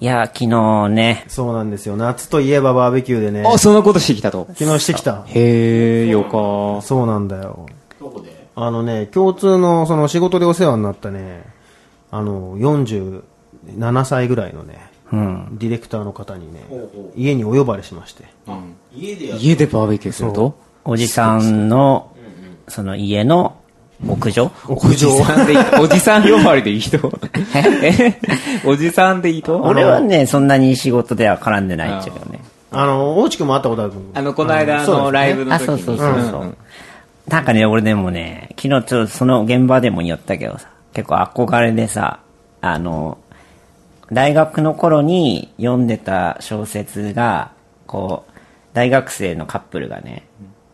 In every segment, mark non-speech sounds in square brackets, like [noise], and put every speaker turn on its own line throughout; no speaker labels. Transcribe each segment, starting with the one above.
や、昨日ね、
そうなんですよ。夏といえばバーベキューでね。
あ、そんなことしてきたと。
昨日してきた。
へえ、よか。
そうなんだよ。あのね、共通の、その仕事でお世話になったね、あの、47歳ぐらいのね、ディレクターの方にね、家にお呼ばれしまして。
家でバーベキューすると
おじさんの、その家の屋上
おじさんでいい、おじさん呼ばれでいいと [laughs] え [laughs] おじさんでいいと
俺はね、そんなに仕事では絡んでないっちゃけどね。
あの、大内くんも会ったことあると思う。
あの、この間
そうです
の
ね
ライブの
あ、
時
そうそう
に。
そうそう、なんかね、俺でもね、昨日ちょっとその現場でも言ったけどさ、結構憧れでさ、あの、大学の頃に読んでた小説が、こう、大学生のカップルがね、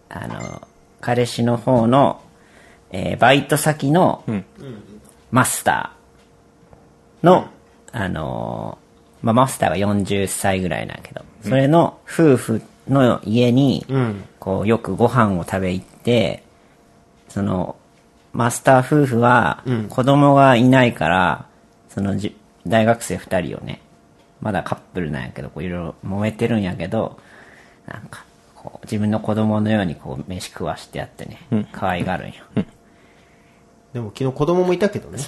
あの、彼氏の方の、えーバイト先のマスターの、あのーまあ、マスターが40歳ぐらいなんやけど、それの夫婦の家に、こう、よくご飯を食べ行って、その、マスター夫婦は、子供がいないから、そのじ、大学生二人をね、まだカップルなんやけど、こういろいろ揉めてるんやけど、なんか、こう、自分の子供のようにこう、飯食わしてやってね、可愛がるんよ。
でも昨日子供もいたけどね。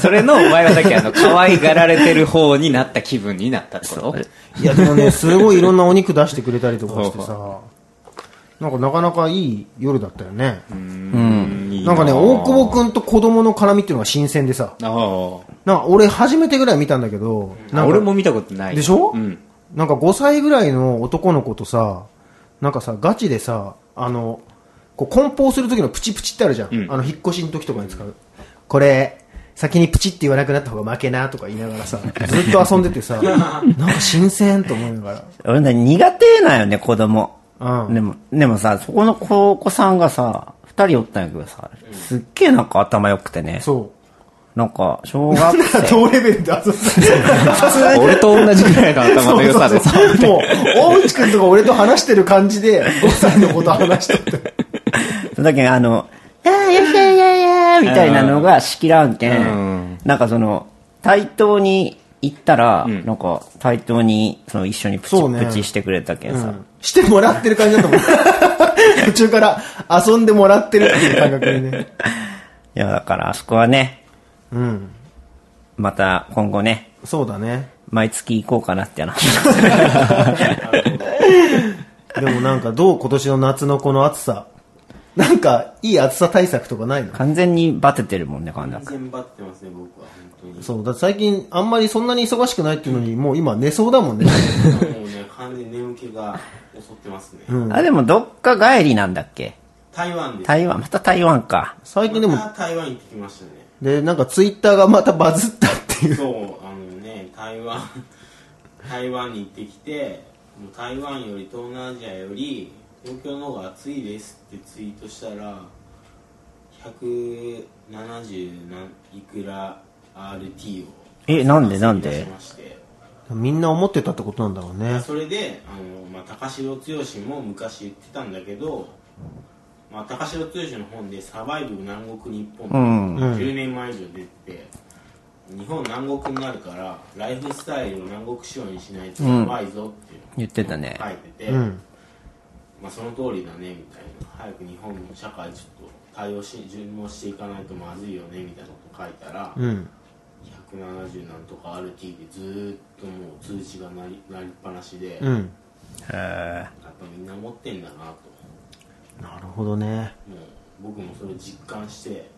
それのお前はだけあの、可愛がられてる方になった気分になったってこと
いやでもね、すごいいろんなお肉出してくれたりとか
[laughs]
してさ、なんかなかなかいい夜だったよね。
うん
なんかね、大久保
ん。
くんと子供の絡みっていうのが新鮮でさ、
あ
なんか俺初めてぐらい見たんだけど、な
あ。
んか
俺も見たことない。
でしょ、
うん。
なんか5歳ぐらいの男の子とさ、なんかさ、ガチでさ、あの、こう梱包する時のプチプチってあるじゃん。あの、引っ越しの時とかに使う。これ、先にプチって言わなくなった方が負けなとか言いながらさ、ずっと遊んでてさ、なんか新鮮と思いながら。
俺ね、苦手なんよね、子供。
うん
でも、でもさ、そこの子お子さんがさ、二人おったんやけどさ、すっげえなんか頭良くてね。
そ
なんか、小
[laughs]
学
う。
生。
同レベルで遊んでさすがに
俺と同じぐらいの頭の良さでさ。
もう、大内くんとか俺と話してる感じで、5歳のこと話しとって。
その時にあの、いやいやいやいやいやみたいなのが仕切らんけん、なんかその、対等に行ったら、なんか対等にその一緒にプチ
そうね
プチしてくれたけんさ。
してもらってる感じだ [laughs] と思う。途中から遊んでもらってるっていう感覚でね。
いや、だからあそこはね、
うん。
また今後ね、
そうだね。
毎月行こうかなって話。
[laughs] でもなんかどう今年の夏のこの暑さ。なんか、いい暑さ対策とかないの
完全にバテてるもんね、神田君。
全張ってますね、僕は、本
そう、だって最近あんまりそんなに忙しくないっていうのに、もう今寝そうだもんね。
[laughs]
当に。もうね、完全に眠気が襲ってますね。
あ、でもどっか帰りなんだっけ
台湾です。
台湾、また台湾か。
最近でも
ま、た台湾行ってきましたね。
[laughs]
で、なんかツイッターがまたバズったっていう。
そう、あのね、台湾、台湾に行ってきて、もう台湾より東南アジアより東京の方が暑いですってツイートしたら、170なんいくら RT を。
えなんでなんで
出しまして
みんな思ってたってことなんだろうね。
それであの、まあ、高城剛も昔言ってたんだけど、まあ、高城剛の本で「サバイブ南国日本」
うん
10年前以上出てて、日本南国になるからライフスタイルを南国仕様にしないとやばいぞっていう
言ってたね
書。いてて、
うん。
まあ、その通りだねみたいな早く日本の社会ちょっと対応し順応していかないとまずいよねみたいなこと書いたら、
うん。
170なんとか RT でずーっともう通知が鳴り鳴りっぱなしで。
うん。
へ
やっぱみんな持ってんだなと
なるほどね。
もう僕もそれ実感して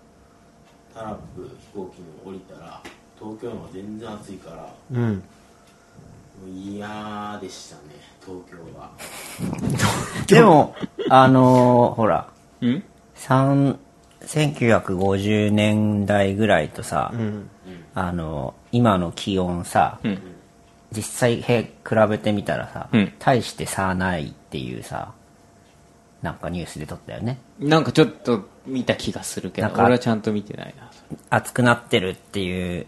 タラップ飛行機に降りたら東京の方が全然暑いからも
うん。
う嫌でしたね東京は
ーでも、あのーほら、
うん
三1950年代ぐらいとさ、
うん。
あの今の気温さ、
うん
実際へ比べてみたらさ、
うん
大して差ないっていうさなんかニュースで撮ったよね
なんかちょっと見た気がするけど、
なんか
俺はちゃんと見てないな。
暑くなってるっていう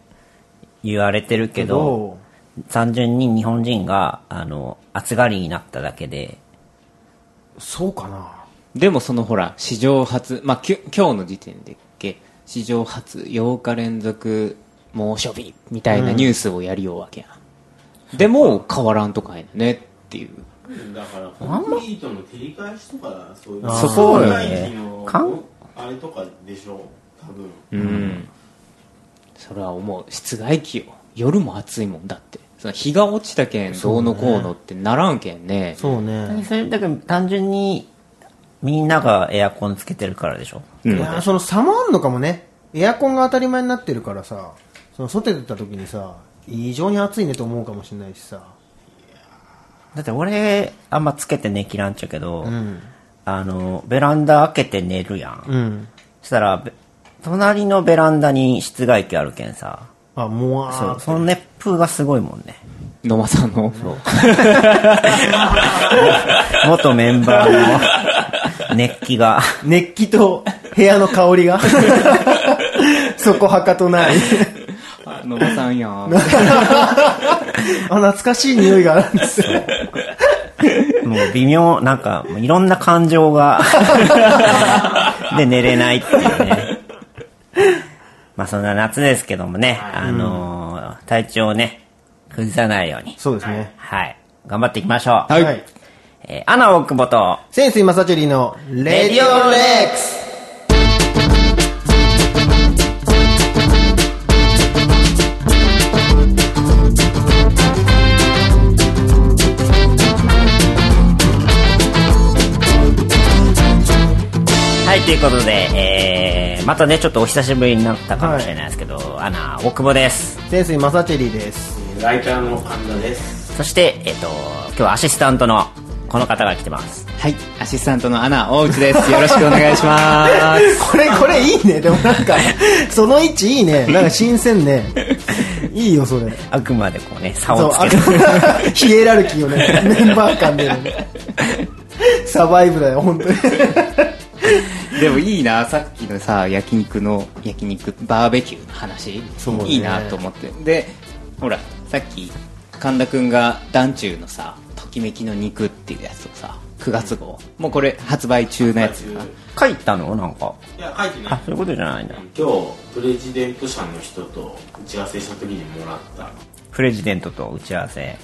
言われてるけど
ど
単純に日本人があの暑がりになっただけで
うそうかな。
でもそのほら、史上初、まあ、きゅ今日の時点でっけ、史上初8日連続猛暑日みたいなニュースをやりようわけや、ん、でも変わらんとかやねっていう
だからコンクリートの照り返しとかそういう
そこよね
災害時の
かん
あれとかでしょ多分
うんそれは思う室外機よ夜も暑いもんだってその日が落ちたけんどうのこうのってならんけんね
そうね。
それだけ単純にみんながエアコンつけてるからでしょ
いやーその差もあんのかもね。エアコンが当たり前になってるからさ、その外出た時にさ、異常に暑いねと思うかもしれないしさ。
だって俺あんまつけて寝きらんちゃうけど、
うん。
あのベランダ開けて寝るやん、
うん。
そしたらべ隣のベランダに室外機あるけんさ
あ、もわ
そ
ー
うその熱風がすごいもんね
野間さんの
元メンバーの [laughs] 熱気が
熱気と部屋の香りが。そこはかとない。
あ [laughs] 野間さんやん
あ、懐かしい匂いがあるんですよ。
もう微妙なんかいろんな感情がで寝れないっていうねまあそんな夏ですけどもね、あのー体調をね崩さないように
そうですね。
はい頑張っていきましょう、
はい
はい。
えーアナ大久保と
センスイマサチェリーのレディオレックス
はい、ということで、えー、またね、ちょっとお久しぶりになったかもしれないですけど、アナ、大久保です。
センスイマサチェリーです。
えーライターの神田です
そして、えっ、と、今日はアシスタントのこの方が来てます。
はいアシスタントのアナ大内ですよろしくお願いします
これ、これいいね。でもなんか、その位置いいね。なんか新鮮ね。いいよ、それ。
あくまでこうね、差
そ
を
う、
つ
あ
けて。
の [laughs] ヒエラルキーをね、メンバー間で、ね。サバイブだよ、本当に。
[laughs] でもいいなさっきのさ焼肉の焼肉バーベキューの話
そうね
いいなと思ってでほらさっき神田くんが団中のさときめきの肉っていうやつをさ9月号もうこれ発売中のやつ
発売
[laughs] 書いたのなんか。
いや書いてない
あ、そういうことじゃないんだ。
今日プレジデント社の人と打ち合わせした時にもらった
プレジデントと打ち合わせ。
はい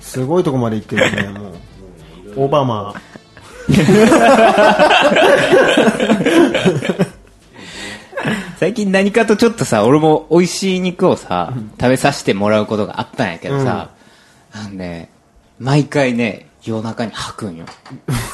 すごいとこまで行ってるね、もう。オバマ。
最近何かとちょっとさ俺も美味しい肉をさ食べさせてもらうことがあったんやけどさ、あのね毎回ね夜中に吐くんよ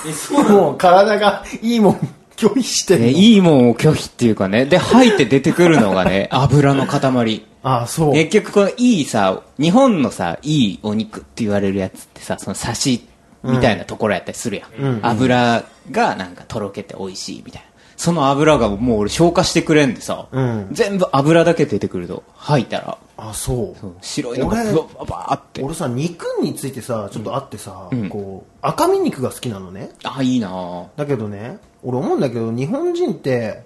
えそうなの
[laughs] もう体がいいもん拒否してる
ね、
の。
いいもんを拒否っていうかね。で、吐いて出てくるのがね、油の塊。
ああ、そう。
結局このいいさ、日本のさ、いいお肉って言われるやつってさ、その刺しみたいなところやったりするやん。油がなんかとろけて美味しいみたいな。その油がもう俺消化してくれんでさ、
うん
全部油だけ出てくると、吐いたら、
あ、そう。
白いのが
俺
ブワババーって。
俺さ、肉についてさ、ちょっとあってさ、こう、赤身肉が好きなのね。
あ、いいなぁ。
[laughs] だけどね、俺思うんだけど、日本人って、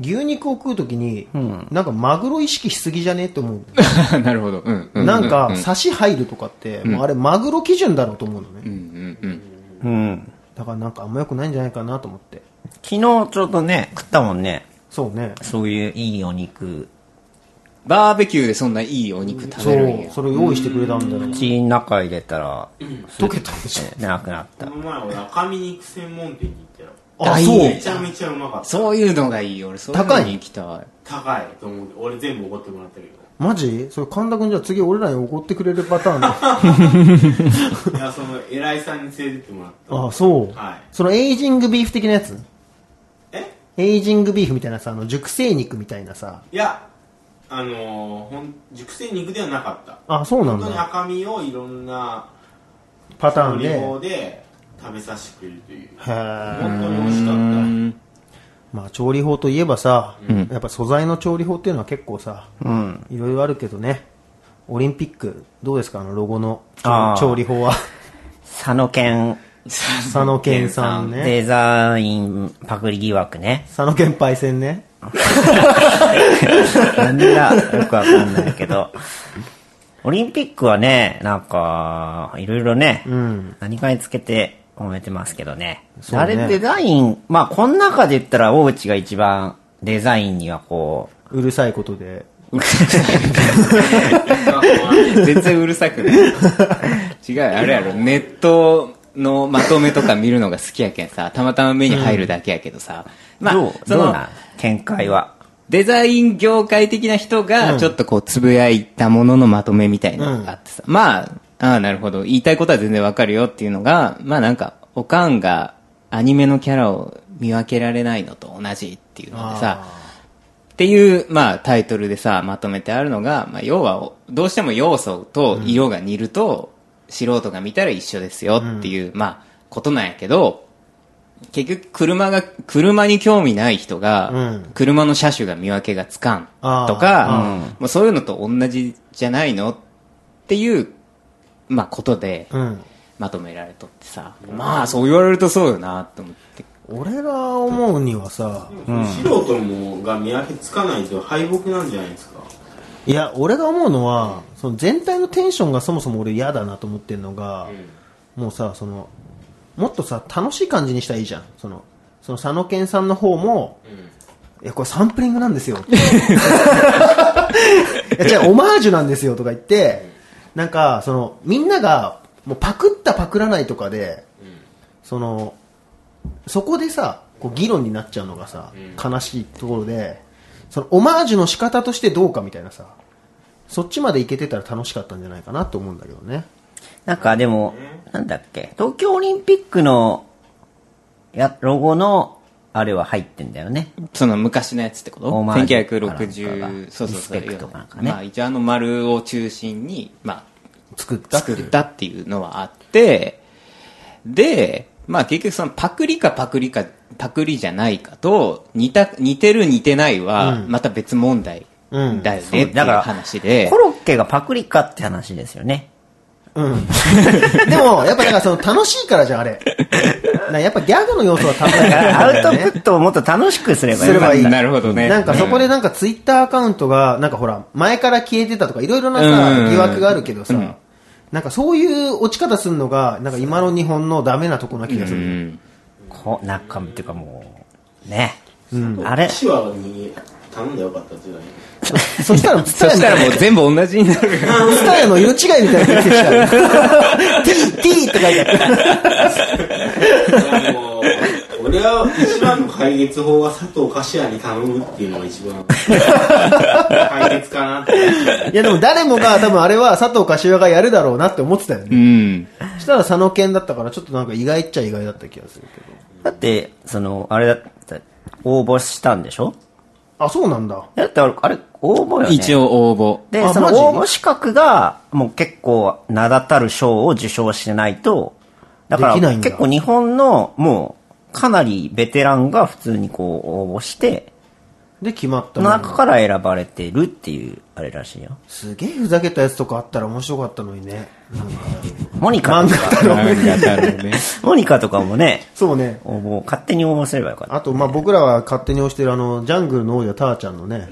牛肉を食うときに、なんかマグロ意識しすぎじゃねって思うのね。
なるほど。うん。う
なんか、差し入るとかって、もうあれ、マグロ基準だろうと思うのね。
うんうん。
うん。
だからなんかあんま良くないんじゃないかなと思って。
昨日ちょうどね、食ったもんね。
そうね。
そういういいお肉。
バーベキューでそんないいお肉食
そ
べるんや
う、。それを用意してくれたんだよ。
口の中入れたら、
溶けたでしょ。
なくなっ
こ
た
の。前俺赤身肉専門店に行ったよ
あ、
大
そう
変。
めちゃめちゃうまかった
そういうのがいいよ俺そういうのに行きたい
高いと思うけど俺全部怒ってもらったけ
マジそれ神田君じゃあ次俺らに怒ってくれるパターンだ。 [laughs]
どいやその偉いさんに連れてってもらった
あ、そう。
はい
そのエイジングビーフ的なやつ
え
エイジングビーフみたいなさ、あの、熟成肉みたいなさ。
いやあのー、ほん熟成肉ではなかった
あ、そうなん
本当に
だ。
赤身をいろんな
パターン
調
で。
理
へ
法で食べさせてくれるという
ー
本当に美味しかっ
まあ、調理法といえばさ、やっぱ素材の調理法っていうのは結構さ、
うん。
いろいろあるけどね。オリンピック、どうですかあのロゴの
あー
調理
[laughs]
法は。
佐野健
佐野健さんね。
デザインパクリ疑惑ね。
佐野健パイセンね。
なんだよくわかんないけど。オリンピックはね、なんか、いろいろね、
ん
何かにつけて褒めてますけどね。
そう
あ
ね
れデザイン、まあ、この中で言ったら、大内が一番デザインにはこ
うるさいことで。
う、
うるさい。全然うるさくない。違う、あれやろ、ネットのまとめとか見るのが好きやけんさ、たまたま目に入るだけやけどさ、ま
ど
あ
う、
そ
どう
の、
なん見解は。
デザイン業界的な人が、ちょっとこう、つぶやいたもののまとめみたいなのがあってさ、まあ、ああ、なるほど、言いたいことは全然わかるよっていうのが、まあなんか、おかんがアニメのキャラを見分けられないのと同じっていうのでさ、っていう、まあ、タイトルでさ、まとめてあるのが、まあ、要は、おどうしても要素と色が似ると、素人が見たら一緒ですよっていう、まあ、ことなんやけど、結局、車が、車に興味ない人が、
うん
車の車種が見分けがつかん
あー
とか、もうそういうのと同じじゃないのっていう、まあ、ことで、
うん。
まとめられとってさ、まあ、そう言われるとそうよな、と思って。
俺が思うにはさ、
素人もが見分けつかないと敗北なんじゃないですか
いや、俺が思うのは、その全体のテンションがそもそも俺嫌だなと思ってるのが、もうさ、その、もっとさ、楽しい感じにしたらいいじゃん。その、その佐野健さんの方も、いや、これサンプリングなんですよ。 [laughs] いや、違う、オマージュなんですよとか言って、なんか、その、みんなが、もうパクったパクらないとかで、その、そこでさ、こう議論になっちゃうのがさ、悲しいところで、そのオマージュの仕方としてどうかみたいなさ、そっちまでいけてたら楽しかったんじゃないかなと思うんだけどね。
なんかでも、なんだっけ、東京オリンピックの、や、ロゴの、あれは入ってんだよね。
その昔のやつってこと
オマージュとかなんかが
?1960、そうそうそう。
リスペクトかなんかね
まあ、一応あの丸を中心に、ま
作った
あ、
って
作
いう
ったっていうのはあって、で、まあ結局そのパクリかパクリか、パクリじゃないかと、似た、似てる似てないは、また別問題だよねっていう
だから
話で
コ、ロッケがパクリかって話ですよ
[laughs]
ね。
うん。でも、やっぱなんかその楽しいからじゃん、あ [laughs] れ。なやっぱギャグの要素は多
だ
分 [laughs]
からアウト
ね
プットをもっと楽しくすれば
すれ
よかっ
ばいい。
なるほどね
なんかそこでなんかツイッターアカウントが、なんかほら、前から消えてたとか、いろいろな
うん
さ、疑惑があるけど
う
さ
ん、
なんかそういう落ち方するのが、なんか今の日本のダメなとこな気がす
う
る。
ん。
た。こう、中身っていうかもう、ね。あれ
手話に頼んでよかったっていうのは
そしたら、ツタ
[laughs] そ
ヤ
し
み
た
た
らも
いうな。
全部同じになる。
ツタヤの色違いみたいな出てきちゃう。T、T [laughs] って書いてある。
いやもう俺は一番の解決法は佐藤菓子屋に頼むっていうのが一番解決かなって
いやでも誰もが多分あれは佐藤柏がやるだろうなって思ってたよ
う
ね。
ん。
そしたら佐野健だったから、ちょっとなんか意外っちゃ意外だった気がするけど。
だって、その、あれだった、応募したんでしょ
あ、そうなんだ。
だってあれ、あれ応募よね。
一。応応募。
で、
あ
その
マジ
応募資格が、もう結構名だたる賞を受賞しないと、だか
できな
ら
いんだ
結構日本の、もう、かなりベテランが普通にこう応募して、
で、決まった
そ
も
の
ん
中から選ばれてるっていう、あれらしいよ。
すげえふざけたやつとかあったら面白かったのにね。なんか
モニカとか、
なんかあるね。
[laughs] モニカとかもね、
そうね。
応募、勝手に応募すればよかった。
あと、まあ、僕らは勝手に推してるあの、ジャングルの王者ターちゃんのね、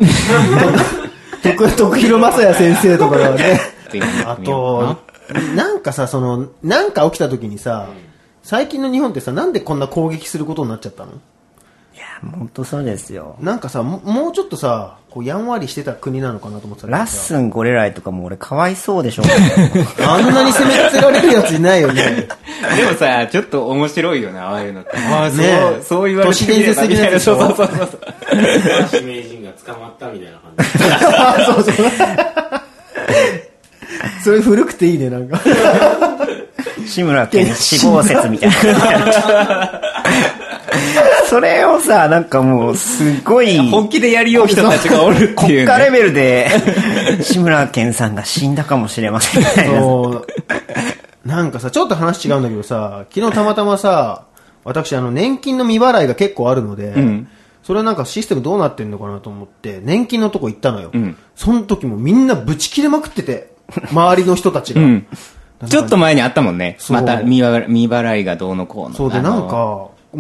徳徳弘正也先生とかがね、
っていうのをや
あ
ってみようかな
と、なんかさ、その、なんか起きた時にさ、最近の日本ってさ、なんでこんな攻撃することになっちゃったの
いや、本当そうですよ。
なんかさ、ももうちょっとさ、こうやんわりしてた国なのかなと思ってた
ラッ
ス
スンゴレライとかも俺かわいそうでしょ。
あんなに攻め立てられるやついないよね。
でもさ、ちょっと面白いよな、ああいうのって。ああ、そう、
ねえ
そう言われてみれば
都市伝説的なやつでし
そ
ょ
うそうそうそう。
高橋名人が捕まったみたいな感じ
そうそう。それ古くていいね、なんか。
志村けん死亡説みたいな。 [laughs] それをさ、なんかもう、すごい、
本気でやりよう人たちがおるっていう、
国家レ
ね。
ベルで、志村けんさんが死んだかもしれませんみたいな。
そう。なんかさ、ちょっと話違うんだけどさ、昨日たまたまさ、私、あの、年金の未払いが結構あるので、
ん
それなんかシステムどうなってんのかなと思って、年金のとこ行ったのよ。
ん
その時もみんなブチ切れまくってて、周りの人たちが。
うん。ちょっと前にあったもんね。
そう
また未払い、未払いがどうのこうの。
そうで、
あ
な
の
んか、、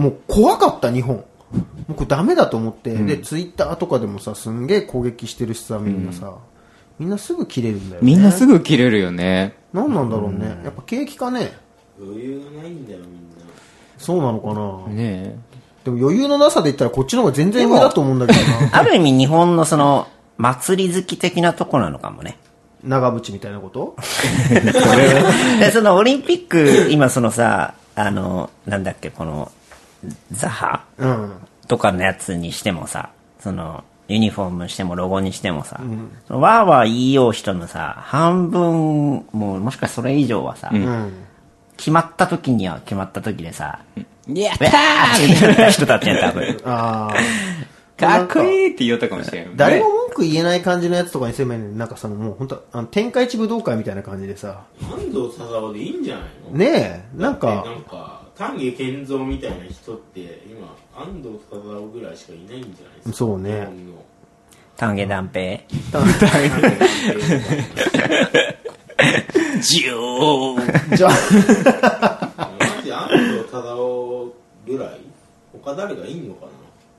もう怖かった、日本。もうこれダメだと思って、で、ツイッターとかでもさ、すんげえ攻撃してるしさ、みんなさ、みんなすぐ切れるんだよね。
みんなすぐ切れるよね。
何なんだろうね。やっぱ景気かね。
余裕がないんだよみんな
そうなのかな。
ね
でも余裕のなさで言ったらこっちの方が全然上だと思うんだけどな。
ある意味日本のその、祭り好き的なとこなのかもね。
[laughs] 長渕みたいなこと
でそのオリンピック、今そのさ、あの、なんだっけ、この、ザハ
うん。
とかのやつにしてもさ、その、ユニフォームにしてもロゴにしてもさ、そのわーわー言いよう人のさ、半分、もうもしかそれ以上はさ、決まった時には決まった時でさ、
やった
ウェーみたいな人たちや多分。
ああ。
かっこいいって言おうとかもしれない。
誰も文句言えない感じのやつとかにすればいいのに、なんかさ、もう本当あの、天下一武道会みたいな感じでさ、
安藤佐沢でいいんじゃないの
ねえ、なん
でな
か、
んか丹下健三みたいな人って今安藤忠雄ぐらいしかいないんじゃないですか
そうね
日本の
丹下断平。
ジュー
じゃあ、 [laughs]
マジ安藤忠雄ぐらい他誰がいんのか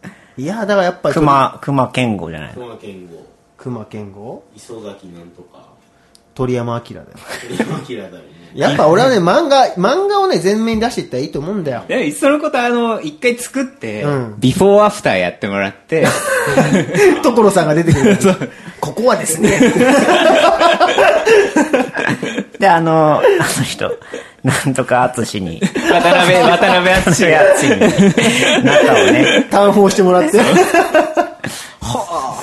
ない
や、だからやっぱり、
熊、熊健吾じゃないの
熊健吾
熊健吾
磯崎なんとか
鳥山明だよ。
鳥山明だよね
やっぱ俺はね、漫画、漫画をね、全面に出していったらいいと思うんだ [laughs] よ。
いや、いっそのことあの、一回作って、
うん
ビフォーアフターやっても
[laughs]
らって、
所さんが出てく [laughs] る。ここはですね、
で、あの、あの人、なんとか淳に、
渡辺、渡辺
なんと
淳
か
[laughs]
が、
淳に、中をね、
探訪してもらって。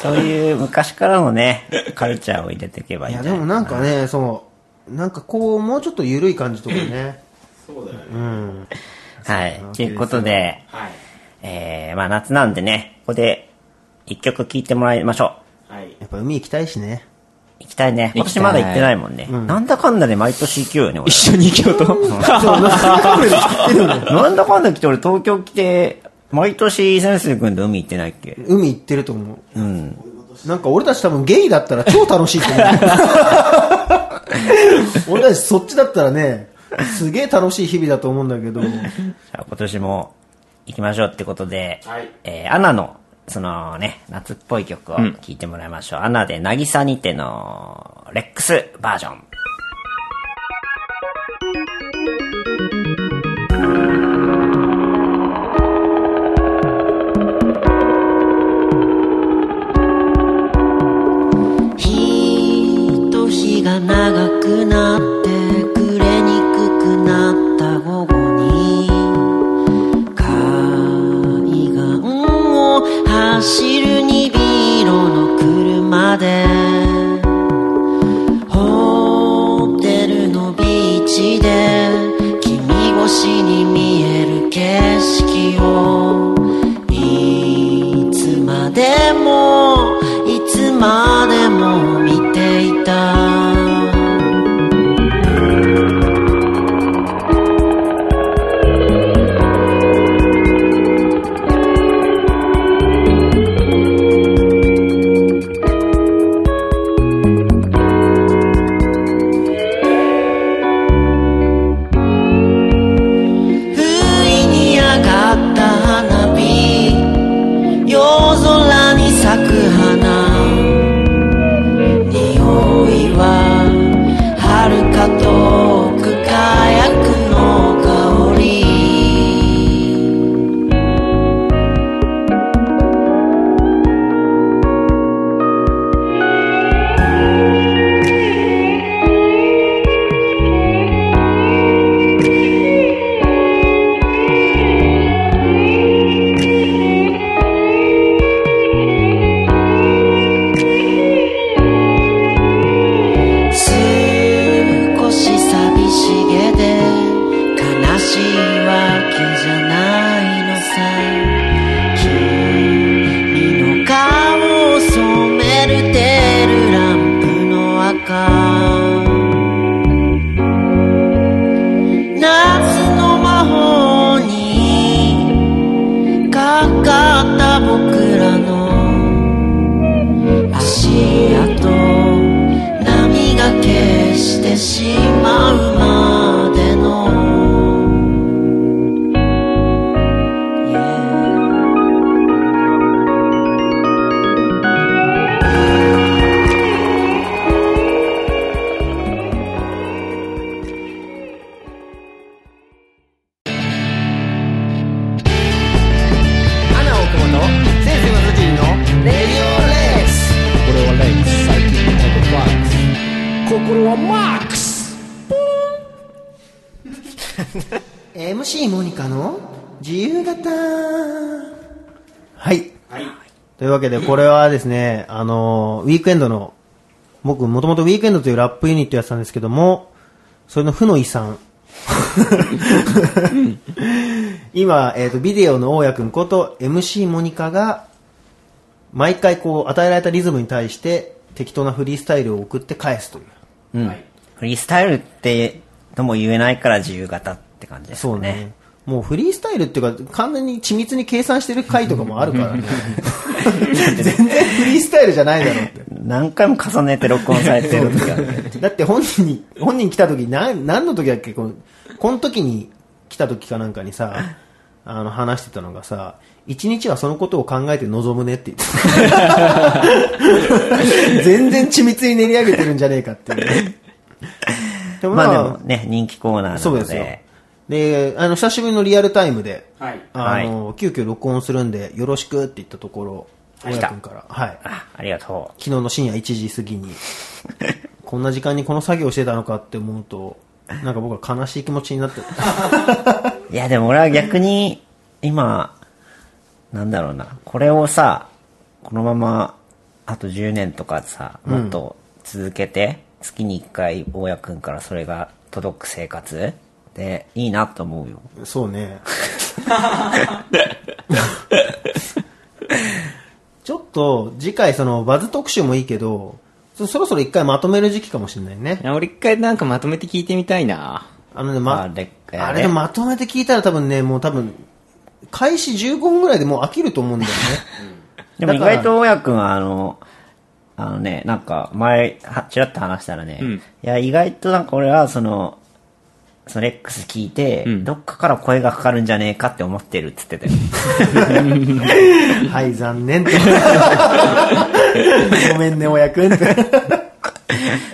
そういう昔からのね、カルチャーを入れていけばいい
い
ん
や、
じ
で
ゃない
もなんかね、その、なんかこう、もうちょっと緩い感じとかね。
そうだよね、
うん。
はい。ということで、
はい
えー、まあ夏なんでね、ここで一曲聴いてもらいましょ
はい
やっぱ海行きたいしね。
う。行きたいね。今
行きた
年ま
い
だ行ってないもんね。なんだかんだで毎年行くよね、俺。
一緒に行きようと。
なんだかんだ来て俺東京来て、毎年先生君と海行ってないっけ
海行ってると思
う
う。
ん。
なんか俺たち多分ゲイだったら超楽しいと思う。俺たちそっちだったらね、すげえ楽しい日々だと思うんだけど、
じゃあ今年も行きましょうってことで、
はい
えーアナの、そのね、夏っぽい曲を聴いてもらいましょう。アナで、渚にての、レックスバージョン。
日と日が長くなってくれにくくなった午後に海岸を走るにビ色の車でホテルのビーチで君越しに見える景色をいつまでもいつまでも見ていた不意に上がった花火夜空に咲く花匂いは遥か遠く火薬の香り少し寂しげで悲しいわけじゃないのさ君の顔を染めるテールランプの赤夏の魔法にかかった僕らの足跡波が消してしまうまでの Yeah
アナ・オクモのセンセのレディオレックスこれ
ころはマックス
MC モニカの自由形はい。
はい。
というわけで、これはですね、あのー、ウィークエンドの、僕、もともとウィークエンドというラップユニットやってたんですけども、それの負の遺 [laughs] 産。今、えっ、と、ビデオの大家くんこと MC モニカが、毎回こう、与えられたリズムに対して、適当なフリースタイルを送って返すという。
うん。フリースタイルって、とも言えないから自由形って感じですね。
そうね。もうフリースタイルっていうか、完全に緻密に計算してる回とかもあるから
[laughs]
ね。全然フリースタイルじゃないだろうって。
何回も重ねて録音されてる時あるけど
だって本人に、本人来た時、なん、何の時だっけこの、この時に来た時かなんかにさ、あの話してたのがさ、一日はそのことを考えて望むねって
[laughs]
言ってた。全然緻密に練り上げてるんじゃねえかっていうね。でもま
ま
あ、
あでもね、人気コーナーな
そう
の
ですよ
で。。
で、あの、久しぶりのリアルタイムで、
はい。
あの、急遽録音するんで、よろしくって言ったところ、
来た
大家君から、はい。
あ、ありがと
昨日の深夜1時過ぎに、 [laughs] こんな時間にこの作業してたのかって思うと、なんか僕は悲しい気持ちになってる。 [laughs]
う。いやでも俺は逆に、今、なんだろうな、これをさ、このまま、あと10年とかさ、もっと続けて、月に1回、大家くんからそれが届く生活で、いいなと思うよ。
そうね。 [laughs] ちょっと、次回その、バズ特集もいいけど、そそろそろ一回まとめる時期かもしれないね。
俺一回なんかまとめて聞いてみたいな。
あのね、
あ
ま、あ
れ
れ
えー
でまとめて聞いたら多分ね、もう多分、開始15分ぐらいでもう飽きると思うんだよね。
でも
だ
意
から
外と親くんはあの、あのね、なんか前、はちらっと話したらね、いや、意外となんか俺はその、そのレックス聞いて、どっかから声がかかるんじゃねえかって思ってるっつってたよ。 [laughs]
[laughs] はい、残念と。ごめんね、親くんって。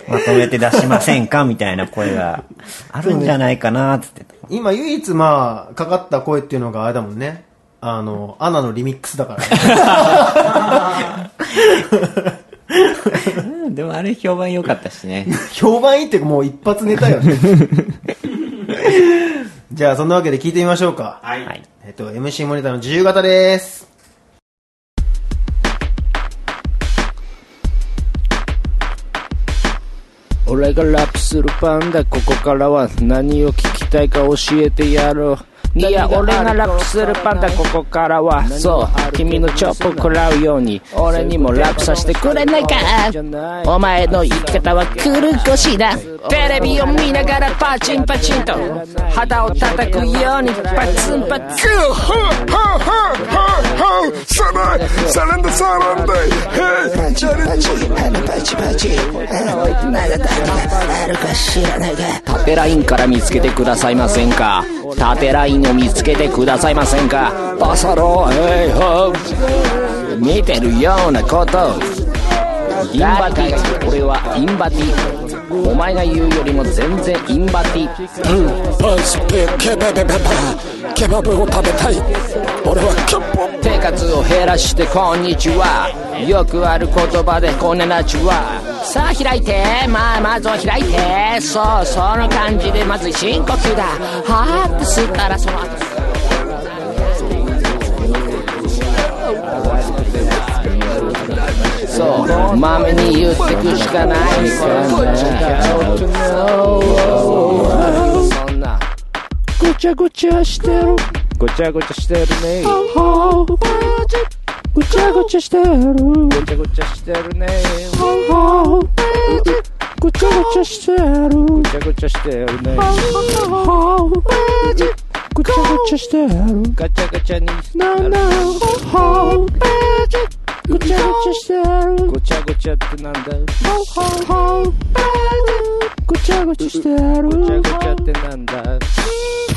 まとめて出しませんかみたいな声があるんじゃないかなっつってた。
今唯一まあ、かかった声っていうのがあれだもんね。あの、アナのリミックスだから。
[laughs] でもあれ評判良かったしね。
評判いいってもう一発ネタよ [laughs] ね。じゃあ、そんなわけで聞いてみましょうか。
はい。
はい。
えっと、MC モニターの自由形です。
俺がラップするパンダここからは何を聞きたいか教えてやろういや俺がラップするパンダここからはそう君のチョップ食らうように俺にもラップさせてくれないかお前の言い方は狂い腰だテレビを見ながらパチンパチンと肌を叩くようにパツンパツン
Saray, saranda saranda. Hey,
縦ラインから見つけてくださいませんか縦ラインを見つけてくださいませんかバサロヘイホー見てるようなことインバティ俺はインバティお前が言うよりも全然インバティ
パスペケベベベベケバブを食べたい俺はキャップ
生活を減らしてこんにちはよくある言葉でこんなナチュはさあ開いてまあまずは開いてそうその感じでまず深呼吸だはーって吸ったらその後そうまめに言ってくしかないそんなごちゃごちゃしてるごちゃごちゃしてるねごちゃごちゃしてるごちゃごちゃしてるねごちゃごちゃしてるごちゃごちゃしてるねごちゃごちゃしてるガチャガチャになんだごちゃごちゃしてるごちゃごちゃってなんだごちゃごちゃしてるごちゃごちゃってなんだご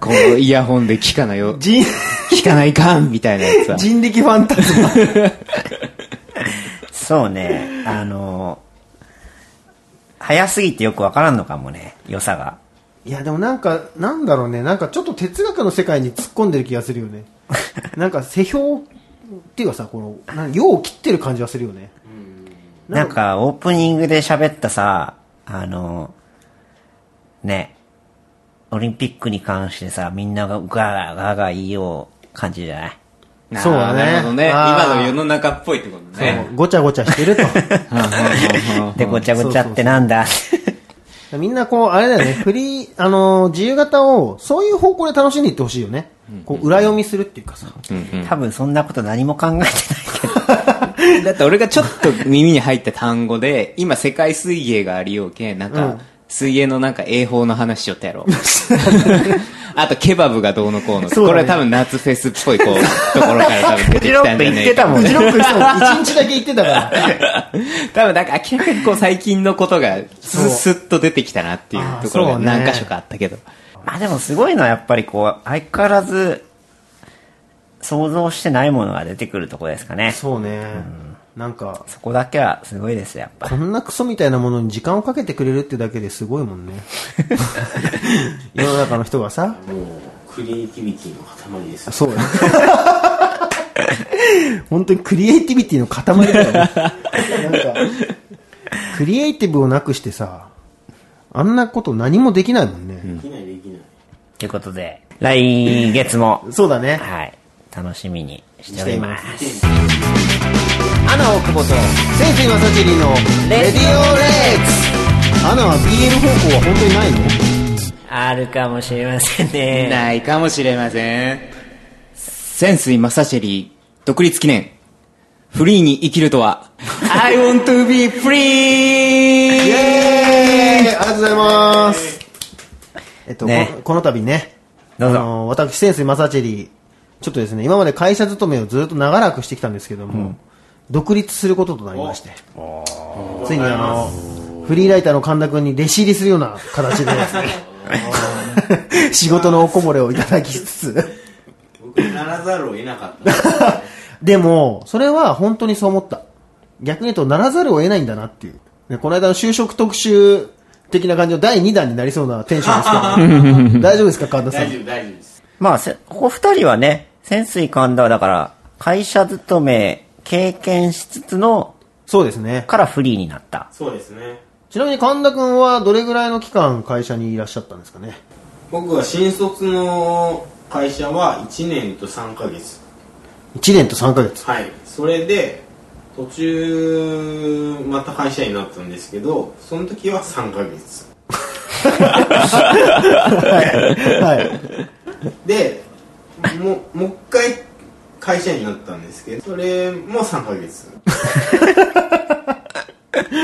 このイヤホンで聞かないよ。
人、
聞かないかんみたいなやつは。
人力ファンタズマ。
そうね、あの、早すぎてよくわからんのかもね、良さが。
いや、でもなんか、なんだろうね。なんかちょっと哲学の世界に突っ込んでる気がする [laughs] よね。なんか、世評っていうかさ、この、なんか、世を切ってる感じがするよね。
なんか、オープニングで喋ったさ、あの、ね、オリンピックに関してさ、みんながガーガーガー言いよう感じじゃない
なあ
そうだね
なるほどね。
あー
今の世の中っぽいってことね。
ごちゃごちゃしてると。 [laughs]
で、ごちゃごちゃってなんだ
みんなこう、あれだよね、フリー、あのー自由形を、そういう方向で楽しんでいってほしいよね。こう、裏読みするっていうかさ。
[laughs] 多分そんなこと何も考えてないけど。
だって俺がちょっと耳に入った単語で、今世界水泳がありようけん、なんか、水泳のなんか泳法の話し
[laughs]
よったやろ。あとケバブがどうのこうの。
そうだね
これは多分夏フェスっぽいこ
[laughs]
う、ところから多分
[laughs]
出てきたんじゃねえか。
んね
ジロックさ [laughs] ん、一日だけ行ってた [laughs] から。
[laughs] 多分なんか明らかにこう最近のことがス
そう
スッと出てきたなっていうところ
あ
が
ーそうね
何箇所かあったけど。
まあでもすごいのはやっぱりこう、相変わらず、想像してないものが出てくるとこですかね。そ
そうね。なんか、
こだけはすごいですよ、やっぱ。
こんなクソみたいなものに時間をかけてくれるってだけですごいも [laughs] んね。世の中の人がさ。
もうクリエイティビティの塊ですよ
そうだね。 [laughs] 本当にクリエイティビティの塊だよね。なんか、クリエイティブをなくしてさ、あんなこと何もできないもんね。
できないできない
ということで、来月も、
そうだね。
はい、楽しみにしております。
アナ・オクボと、センセイ・マサチリの、レディオ・レッツアナは BL 方向は本当にないの
あるかもしれませんね。
ないかもしれません。潜水マサシェリー、独立記念。フリーに生きる
[laughs]
とは、I want to be free!
イエーイありがとうございます。えっと、
ね
このこの度ね、
どうぞ
あの私、センスマサチェリー、ちょっとですね、今まで会社勤めをずっと長らくしてきたんですけども、独立することとなりまして、ついにあの、フリーライターの神田君に弟子入りするような形でですね、仕事のおこぼれをいただきつつ、
僕ならざるを得なかった
でも、それは本当にそう思った。逆に言うと、ならざるを得ないんだなっていう。ねこの間の就職特集的な感じの第2弾になりそうなテンションですけど、大丈夫ですか、神田さ
大
ん
丈。夫大丈夫です
まあ、せここ二人はね、潜水艦ではだから、会社勤め経験しつつの、
そうですね。
からフリーになった。
そうですね
ちなみに神田君はどれぐらいの期間会社にいらっしゃったんですかね。
僕は新卒の会社は1年と3ヶ月
1年と3ヶ
[laughs]
月。
はいそれで途中また会社員になったんですけどその時は3ヶ月
はい。
でもうもう一回会社員になったんですけどそれも3ヶ月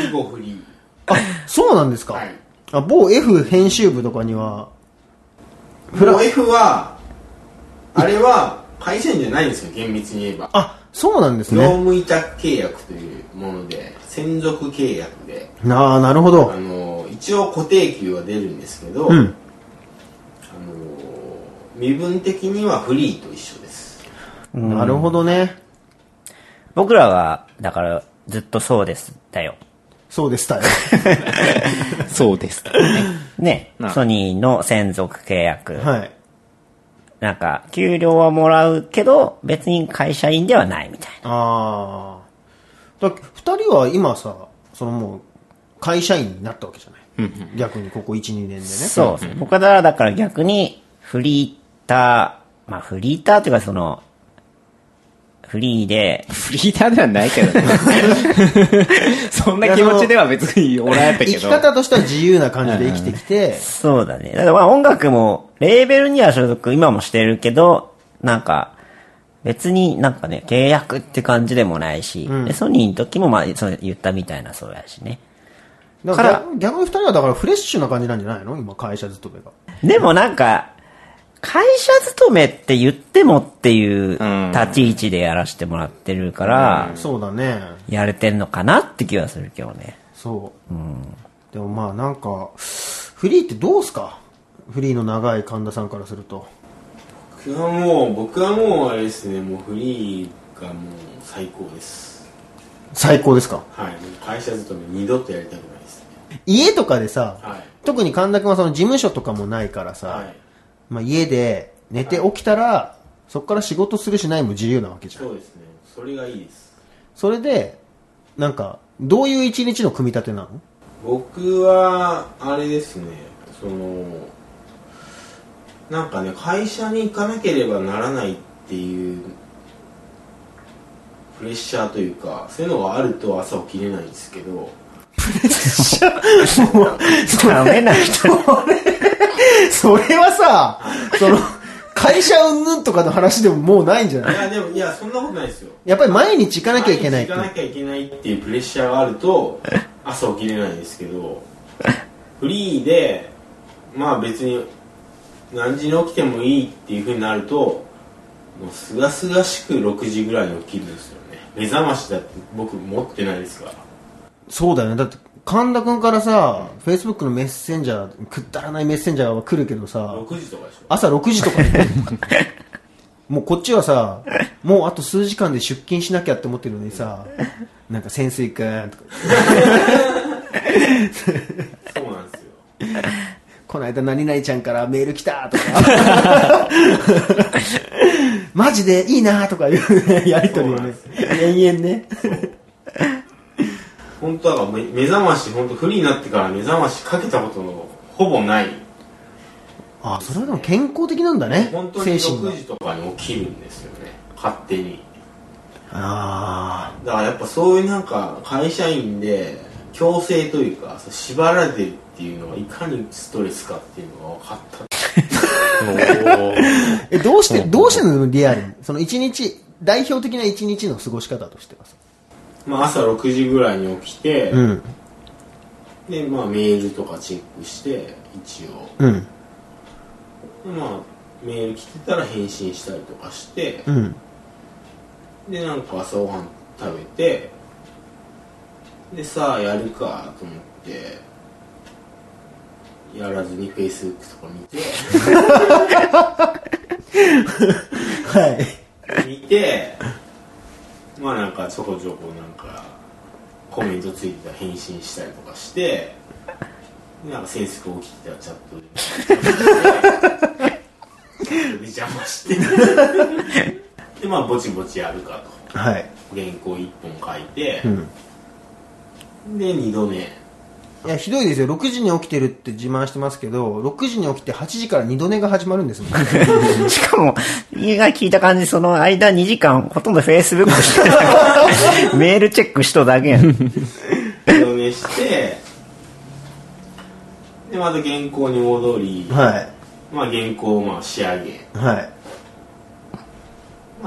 以後フリ
あ、そうなんですか。
はい
あ某 F 編集部とかには、
ーもう F はあれは会社員じゃないんですよ厳密に言えば
あ、そうなんです
業
ね。
務委託契約というもので専属契約で
なあ、なるほ
あ
ど。
の一応固定給は出るんですけど、
うん。
あの身分的にはフリーと一緒です
なるほどね。
僕らは、だから、ずっとそうです、だよ。
そうでしたよ。
そうです。
ね
な、
ソニーの専属契約。
はい。
なんか、給料はもらうけど、別に会社員ではないみたい
ああ。だ二人は今さ、そのもう、会社員になったわけじゃない。逆にここ1、2年でね。
な。そうですね。僕はだから逆に、フリーター、まあフリーターというかその、フリーで、
フリーターではないけどね。
[laughs]
そんな気持ちでは別におらんやっ
生
たけ
き
ど。
方としては自由な感じで生きてきて、
そうだね。だからまあ音楽も、レーベルには所属、今もしてるけど、なんか、別になんかね、契約って感じでもないし、でソニーの時もまあ、その言ったみたいなそうやしね。
だから
か
逆逆に二人はだからフレッシュな感じなんじゃないの今会社勤めが。
でもなんか、会社勤めって言ってもっていう立ち位置でやらせてもらってるから、
そうだね。
やれてんのかなって気はするけどね。
そう、でもまあなんかフリーってどうすかフリーの長い神田さんからすると
僕はもう僕はもうあれですねもうフリーがもう最高です
最高ですか
はいもう会社勤め二度とやりたくないですね
家とかでさ、
はい
特に神田君はその事務所とかもないからさ、
はい
まあ、家で寝て起きたらそこから仕事するしないも自由なわけじゃん
そうですねそれがいいです
それでなんかどういう一日の組み立
[laughs]
てなの
僕はあれですねそのなんかね会社に行かなければならないっていうプレッシャーというかそういうのがあると朝起きれないんですけど
ダメな人
それはさ、その、会社云々とかの話でももうないんじゃない
いやでもいやそんなことないですよ
やっぱり毎日行かなきゃいけないっ
毎日
て
行かなきゃいけないっていうプレッシャーがある
[laughs]
と朝起きれないんですけどフリーでまあ別に何時に起きてもいいっていうふうになるともうすがすがしく6時ぐらいに起きるんですよね目覚ましだって僕持ってないですから
そうだよね。だって、神田くんからさ、Facebook のメッセンジャー、くだらないメッセンジャーは来るけどさ、
6時とかでしょ
朝6時とかにもうこっちはさ、もうあと数時間で出勤しなきゃって思ってるのにさ、なんか潜水君とか、
そうなんですよ
この間何々ちゃんからメール来たとか、マジでいいなとかいうねやりとりをね、延々ね。
本当だからめ目覚まし本当フリーになってから目覚ましかけたことのほぼない
あそれはでも健康的なんだね
本当に
精神が
6時とかに起きるんですよね勝手に
あ
だからやっぱそういうなんか会社員で強制というかそう縛られてるっていうのがいかにストレスかっていうのが分かった
[laughs] あえどうしてどうしてんのリアルにその一日代表的な一日の過ごし方としてはさ
まあ朝6時ぐらいに起きて、
うん
でまあメールとかチェックして一応
うん
でまあメール来てたら返信したりとかして
う、ん
でなんか朝ごはん食べてでさあやるかと思ってやらずにフェイスブックとか見
[laughs]
て
はい
見てまあなんかちょこちょこなんかコメントついてたら返信したりとかしてでなんか制服起きてたらチャットでチャットで邪魔してでまあぼちぼちやるかと
はい
原稿1本書いて、
ん
で2度目
いやひどいですよ6時に起きてるって自慢してますけど6時に起きて8時から二度寝が始まるんですも
[laughs]
ん
しかも、家が聞いた感じ、その間2時間、ほとんど [laughs] Facebook してたから、メールチェックしとだけやん。
二度目してでまた原稿に戻り、
は
まあ原稿をまあ仕上げ
いはい
まあ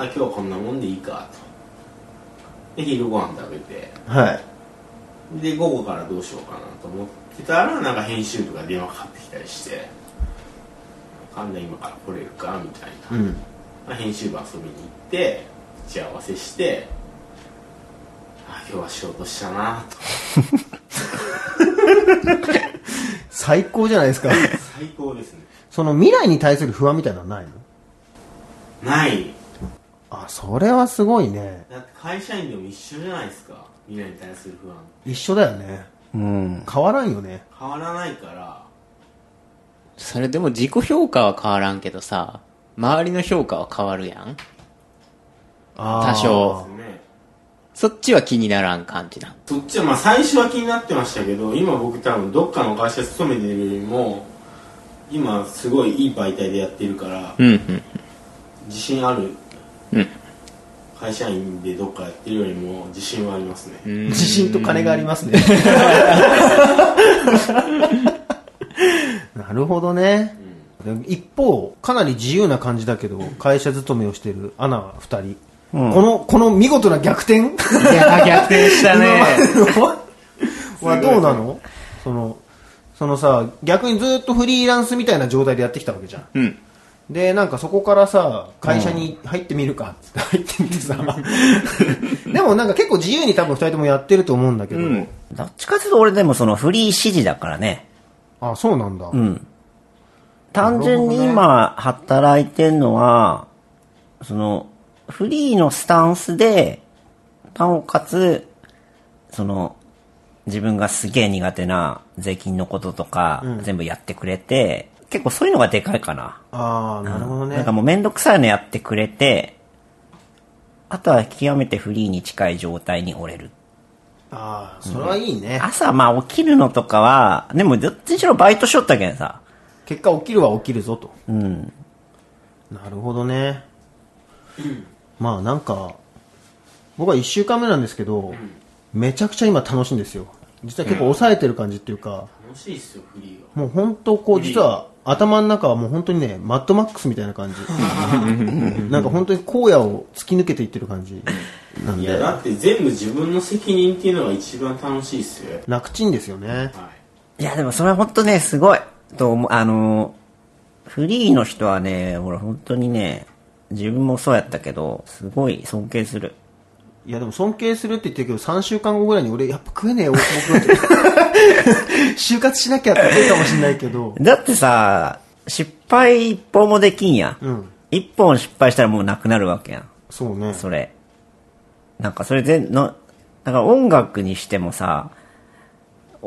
今日はこんなもんでいいかと。で、昼ご飯食べて、
はい
で、午後からどうしようかなと思ってたら、なんか編集部が電話かかってきたりして、神田今から来れるかみたいな。
うん
まあ、編集部遊びに行って、打ち合わせして、あ、今日は仕事したなと。
最高じゃない [laughs] ですか
最高ですね。
その未来に対する不安みたいなのはないの
ない。
あそれはすごいね
だって会社員でも一緒じゃないですか。未来に対する不安。
一緒だよね
うん。
変わらんよね
変わらないから、
それでも自己評価は変わらんけどさ、周りの評価は変わるやん。
あー
多少
ね。
そっちは気にならん感じなん。
そっちはまあ最初は気になってましたけど今僕多分どっかの会社勤めてるよりも今すごいいい媒体でやってるから
うんうん。
自信ある、
うん
会社員でどっかやってるよりも自信はありますね、
自信と金がありますねなるほどね、一方かなり自由な感じだけど会社勤めをしてるアナ2人、
ん
このこの見事な逆転
いやー、逆転したね。
[laughs] はどうなのそのそのさ逆にずっとフリーランスみたいな状態でやってきたわけじゃん
うん。
でなんかそこからさ会社に入ってみるかっつっ
[laughs]
て入ってみてさでもなんか結構自由に多分2人ともやってると思うんだけど、
うん
どっちかっていうと俺でもそのフリー指示だからね。
あ、そうなんだ。
単純に今働いてんのは、その、フリーのスタンスで、なおかつ、その、自分がすげえ苦手な税金のこととか、全部やってくれて、結構そういうのがでかいかな。
ああ、なるほどね。
なんかもうめんどくさいのやってくれて、あとは極めてフリーに近い状態に折れる。
ああ、それはいいね。
朝まあ起きるのとかは、でもどっちにしろバイトしよったけんさ。
結果起きるは起きるぞと。なるほどね。まあなんか、僕は1週間目なんですけど、めちゃくちゃ今楽しいんですよ。実は結構抑えてる感じっていうか、
楽しいっすよフリー
も
は
う本当こう、実は頭の中はもう本当にね、マッドマックスみたいな感じ。なんか本当に荒野を突き抜けていってる感じなん
いや
で、
だって全部自分の責任っていうのが一番楽しいっすよ
楽ちんですよね。
はい
いや、でもそれは本当ね、すごい。と思う、あの、フリーの人はね、俺本当にね、自分もそうやったけど、すごい尊敬する。
いやでも尊敬するって言ってるけど、3週間後ぐらいに俺やっぱ食えねえよ、大久保君って [laughs] 就活しなきゃって言うかもしれないけど、
だってさ、失敗一本もできんやん。
うん
一本失敗したらもうなくなるわけやん。
そうね。
それ。なんかそれで、の、だから音楽にしてもさ、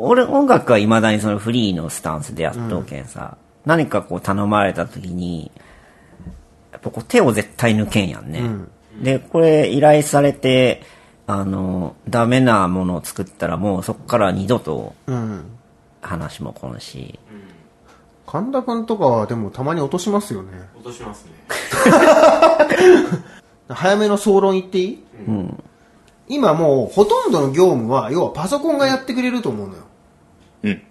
俺音楽は未だにそのフリーのスタンスでやっとうけんさ、何かこう頼まれた時に、やっぱこう手を絶対抜けんやんね。で、これ依頼されて、あの、ダメなものを作ったらもうそこから二度と
うん。
話もこんし、
神田君とかはでもたまに落としますよね。
落としますね
早めの総論言っていい、今もうほとんどの業務は要はパソコンがやってくれると思うのよ、
うん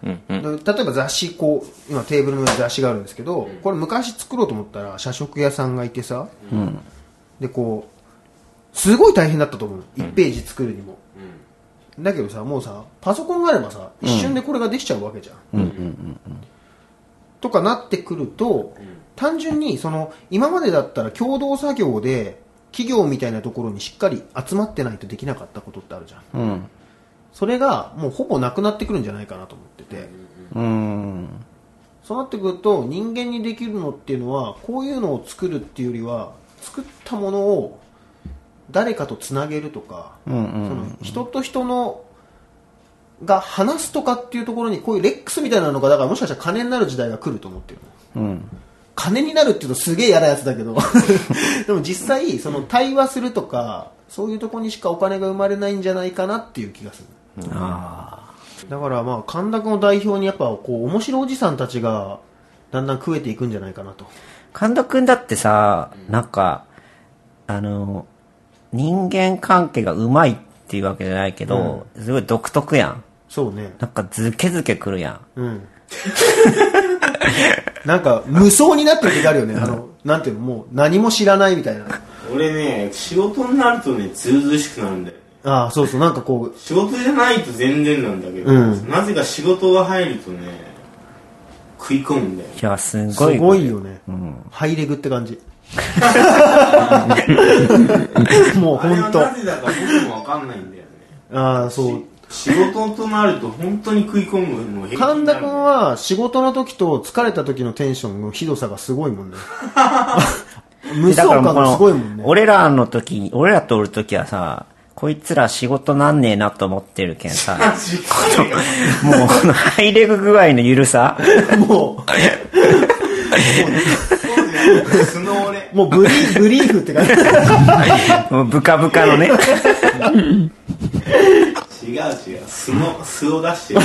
で例えば雑誌こう今テーブルの上に雑誌があるんですけど、これ昔作ろうと思ったら社食屋さんがいてさ、でこうすごい大変だったと思う1ページ作るにも、だけどさもうさパソコンがあればさ一瞬でこれができちゃうわけじゃん、とかなってくると、単純にその今までだったら共同作業で企業みたいなところにしっかり集まってないとできなかったことってあるじゃん、それがもうほぼなくなってくるんじゃないかなと思ってて、
うん。
そうなってくると人間にできるのっていうのはこういうのを作るっていうよりは作ったものを誰かとつなげるとか、その人と人のが話すとかっていうところにこういうレックスみたいなのがだからもしかしたら金になる時代が来ると思ってるの、金になるっていうとすげえ嫌なやつだけ [laughs] どでも実際その対話するとかそういうところにしかお金が生まれないんじゃないかなっていう気がする、だからまあ神田君を代表にやっぱこう面白おじさんたちがだんだん食えていくんじゃないかなと
神田くんだってさ、なんか、あの、人間関係がうまいっていうわけじゃないけど、すごい独特やん。
そうね
なんかズケズケくるやん。
うん [laughs] なんか無双になってる時あるよねあのなんていうのもう何も知らないみたいな
俺ね仕事になるとねずうずうしくなるんだよね
ああそうそうなんかこ
仕事じゃないと全然なんだけど、
うん
なぜか仕事が入るとね食い込むんだよ
いや、す
うす
ごい。
ごいよね、ハイレグって感 [laughs] じもう本
あれは
当
なぜだか僕も分かんないんだよね
ああそう
仕事となると本当に食い込むの平気になる
神田君は仕事の時と疲れた時のテンションのひどさがすごいもんね無双感がすごいもんね
俺らの時に、俺らとおる時はさ、こいつら仕事なんねえなと思ってるけん
[laughs]
さ、もうこのハイレグ具合の緩さ、
も
そうだよね素の俺
う、もうブリーブリーフって感じ。
もうブカブカのね、
違う違う素の素を出してる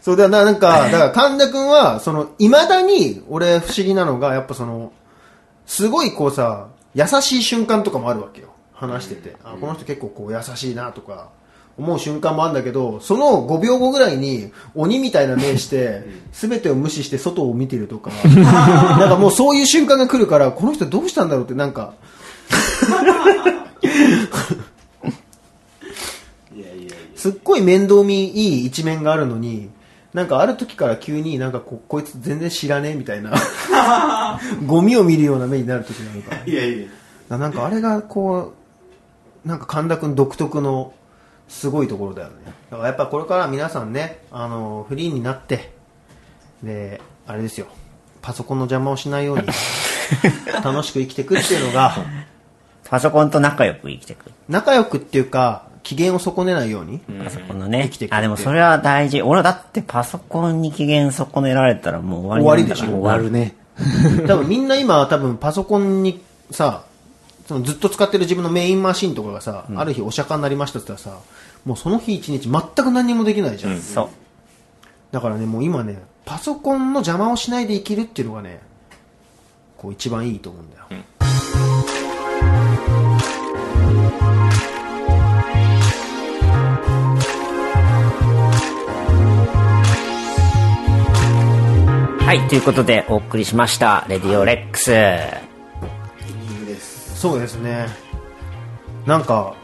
そうだな、なんか、だから神田くんは、その、未だに、俺不思議なのが、やっぱその、すごいこうさ、優しい瞬間とかもあるわけよ。話してて。あ、この人結構こう優しいなとか、思う瞬間もあるんだけど、その5秒後ぐらいに鬼みたいな目して、すべてを無視して外を見てるとか、なんかもうそういう瞬間が来るから、この人どうしたんだろうってなんか、
いやいやいや
すっごい面倒見いい一面があるのに、なんかある時から急になんかこ、こいつ全然知らねえみたいな、ゴミを見るような目になる時なのか。
[laughs] いやいや
ななんかあれがこう、なんか神田くん独特の、すごいところだよねだからやっぱこれから皆さんねあのフリーになってであれですよパソコンの邪魔をしないように楽しく生きていくっていうのが
パソコンと仲良く生きていく。
仲良くっていうか機嫌を損ねないように、
パソコンのね
生きてい。く
あ、でもそれは大事。俺はだってパソコンに機嫌損ねられたらもう終
終
わ
わ
り
り
なん
で
だ
し
か
ょ
ら。
るね多分みんな今多分パソコンにさそのずっと使ってる自分のメインマシンとかがさ、ある日お釈迦になりましたって言ったらさもうその日一日全く何もできないじゃん、
そう。
だからねもう今ねパソコンの邪魔をしないで生きるっていうのがねこう一番いいと思うんだよ、
はい、ということでお送りしました、レディオレックス。
そうですねなんか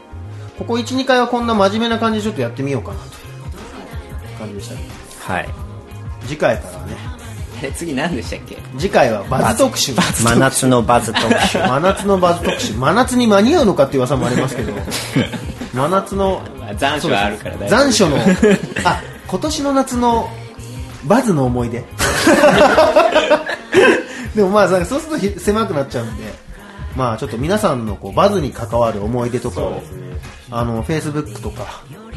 ここ12回はこんな真面目な感じでちょっとやってみようかなという感じでしたね
はい。
次回からはね
え次何でしたっけ
次回はバズ特集
真夏のバズ
[laughs]
特集。
真夏のバズ特集真夏に間に合うのかっていう噂もありますけど真夏の
まあ残暑はあるから大丈夫
残暑のあ今年の夏のバズの思い出 [laughs] でもまあさそうするとひ狭くなっちゃうんでまあちょっと皆さんのこうバズに関わる思い出とかを、あのフェイスブックとか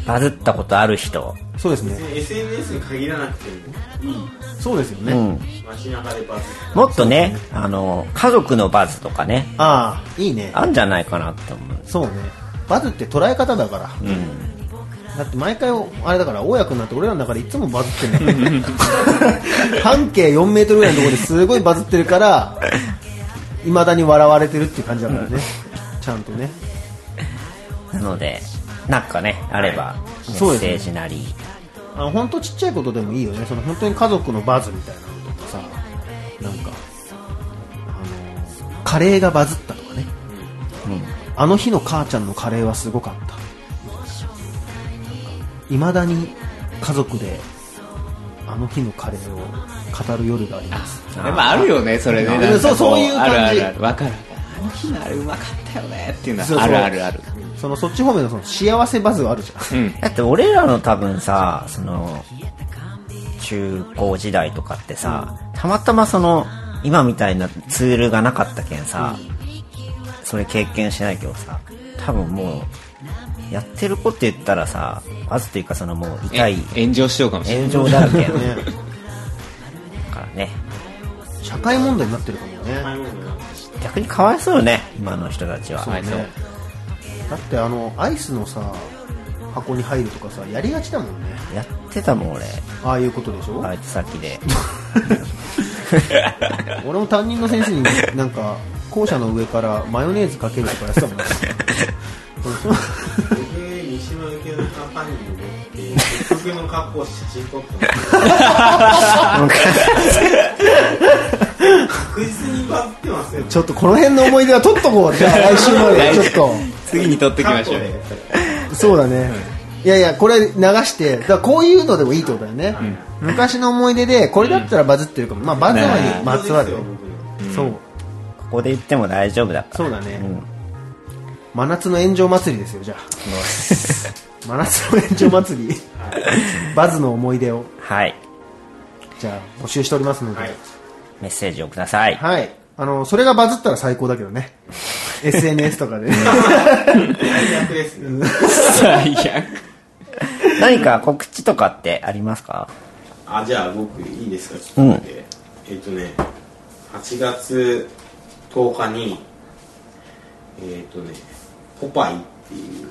バズったことある人。
そうですね
SNS に限らなくてもいい
そうですよね、
うん。
街中でバズ
もっとね、あの、家族のバズとかね、
ああいいね
あんじゃないかなって思う。
そうねバズって捉え方だから、だって毎回あれだから大家君なんて俺らの中でいつもバズってるんだよ半径4メートルぐらいのところですごいバズってるからいまだに笑われてるっていう感じだからね、ちゃんとね
なので、なんかね、あれば、メ
そう
ッ
ですね
セージなり、
あの本当ちっちゃいことでもいいよねその本当に家族のバズみたいなのとかさなんかあのカレーがバズったとかね、あの日の母ちゃんのカレーはすごかったいまだに家族であの日のカレーを語る夜があります
でもあるよねそれね
うん
なんか
そう
こ
そういう感
あ
じ
るあるあるわかるあの日のあれうまかったよねっていうの
そう
は
そう
あるあるある
そのそっち方面のその幸せバズはあるじゃん
だって俺らの多分さその中高時代とかってさたまたまその今みたいなツールがなかったけんさそれ経験しないけどさ多分もうやってること言ったらさまずというかそのもう
え
痛い
炎上しようかもしれない
炎上だらけや
ね
からね
社会問題になってるかもね
前もね
逆にかわいそうよね今の人たちは
はいそう
だってあのアイスのさ箱に入るとかさやりがちだもんね
やってたもん俺
ああいうことでしょ、
バイト先で
俺も担任の先生になんか校舎の上からマヨネーズかけるとかやってたもんね
[laughs] 僕三島由紀夫のカンパニーに乗って結局の格好を写真撮ってます確実にバズってますよ
ちょっとこの辺の思い出は取っとこうじゃあ来週までちょっと
次に取ってきましょう
過去で
そうだねいやいやこれ流してだからこういうのでもいいってことだよね、昔の思い出でこれだったらバズってるかも、まあバズは
ね
まつわるよ、
僕の
そう
ここで言っても大丈夫だから
そうだね、
ん
真夏の炎上祭りですよじゃあ真夏の炎上祭りバズの思い出を
はい
じゃあ募集しておりますので、
はい
メッセージをください
はい。あの、それがバズったら最高だけどね。SNS とかでね。
最悪ですね
最悪
何か告知とかってありますか
あじゃあ僕いいですかち
う
ょ
ん
っと待って、えっとね8月10日にえっとね「ポパイ」っていう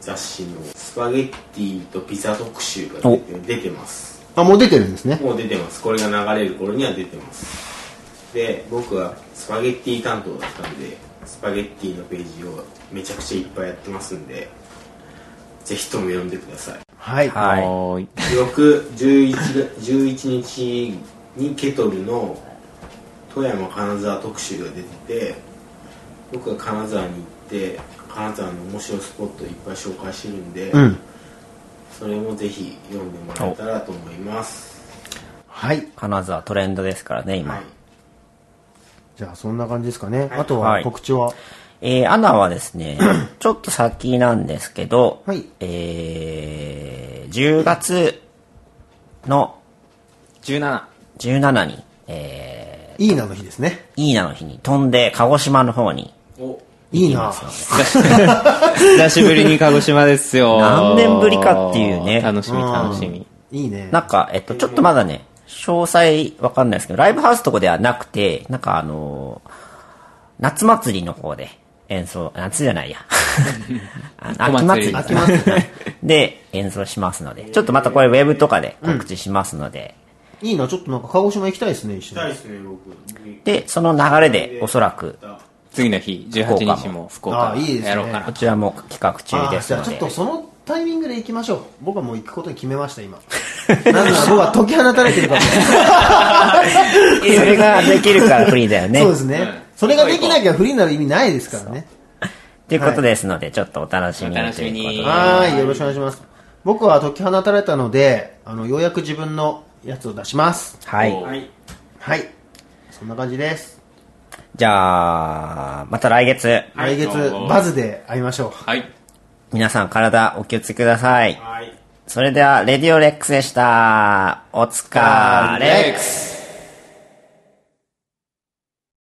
雑誌のスパゲッティとピザ特集が出て出てます
あ、もう出てるんですね。
もう出てますこれが流れる頃には出てますで僕はスパゲッティ担当だったんでスパゲッティのページをめちゃくちゃいっぱいやってますんでぜひとも読んでください
はい。
はい
おーい
翌11月11日にケトルの富山金沢特集が出てて僕は金沢に行って金沢の面白いスポットをいっぱい紹介してるんで、
うん。
それもぜひ読んでもらえたらと思います
はい。
金沢トレンドですからね今、
はい
じゃあ、そんな感じですかね。あと
は
はい告知は。
えーアナはですね、ちょっと先なんですけど、
はい
えー10月の
17
17に、え
いいなの日ですね。
ー、いいなの日に飛んで、鹿児島の方に、
お
いいな。
久しぶりに鹿児島ですよ
何年ぶりかっていうね
楽しみ
うん
楽しみ
いいね。
なんか、えっと、ちょっとまだね、詳細わかんないですけど、ライブハウスとかではなくて、なんかあのー夏祭りの方で演奏、夏じゃないや。あの秋
小祭
祭
り
り秋祭り [laughs] で演奏しますので、ちょっとまたこれウェブとかで告知しますので、
いいな、ちょっとなんか鹿児島行きたいですね、一緒
行きたい
に
で。すね僕に
で、その流れでおそらく、
行った
次の日18日も福岡
あいいですね
やろうかな
こちらも企画中
あ
で
ーじ
す
ゃあ
の
ちょっ
で
と、そのタイミングで行きましょう。僕はもう行くことに決めまし
[laughs]
た、今。なんなら僕は解き放たれてるから。
それができるからフリーだよね。
そうですね。それができなきゃ不利になる意味ないですからね。
ということですので、ちょっとお楽しみに
お楽しみに
ということで
はーい、よろしくお願いします。僕は解き放たれたので、あの、ようやく自分のやつを出します。
はい。
はい
はい。そんな感じです。
じゃあ、また来月、
来月
どうも、
バズで会いましょう。
はい
皆さん体お気をつけください。
はい
それでは、レディオレックスでした。お疲れ。
ス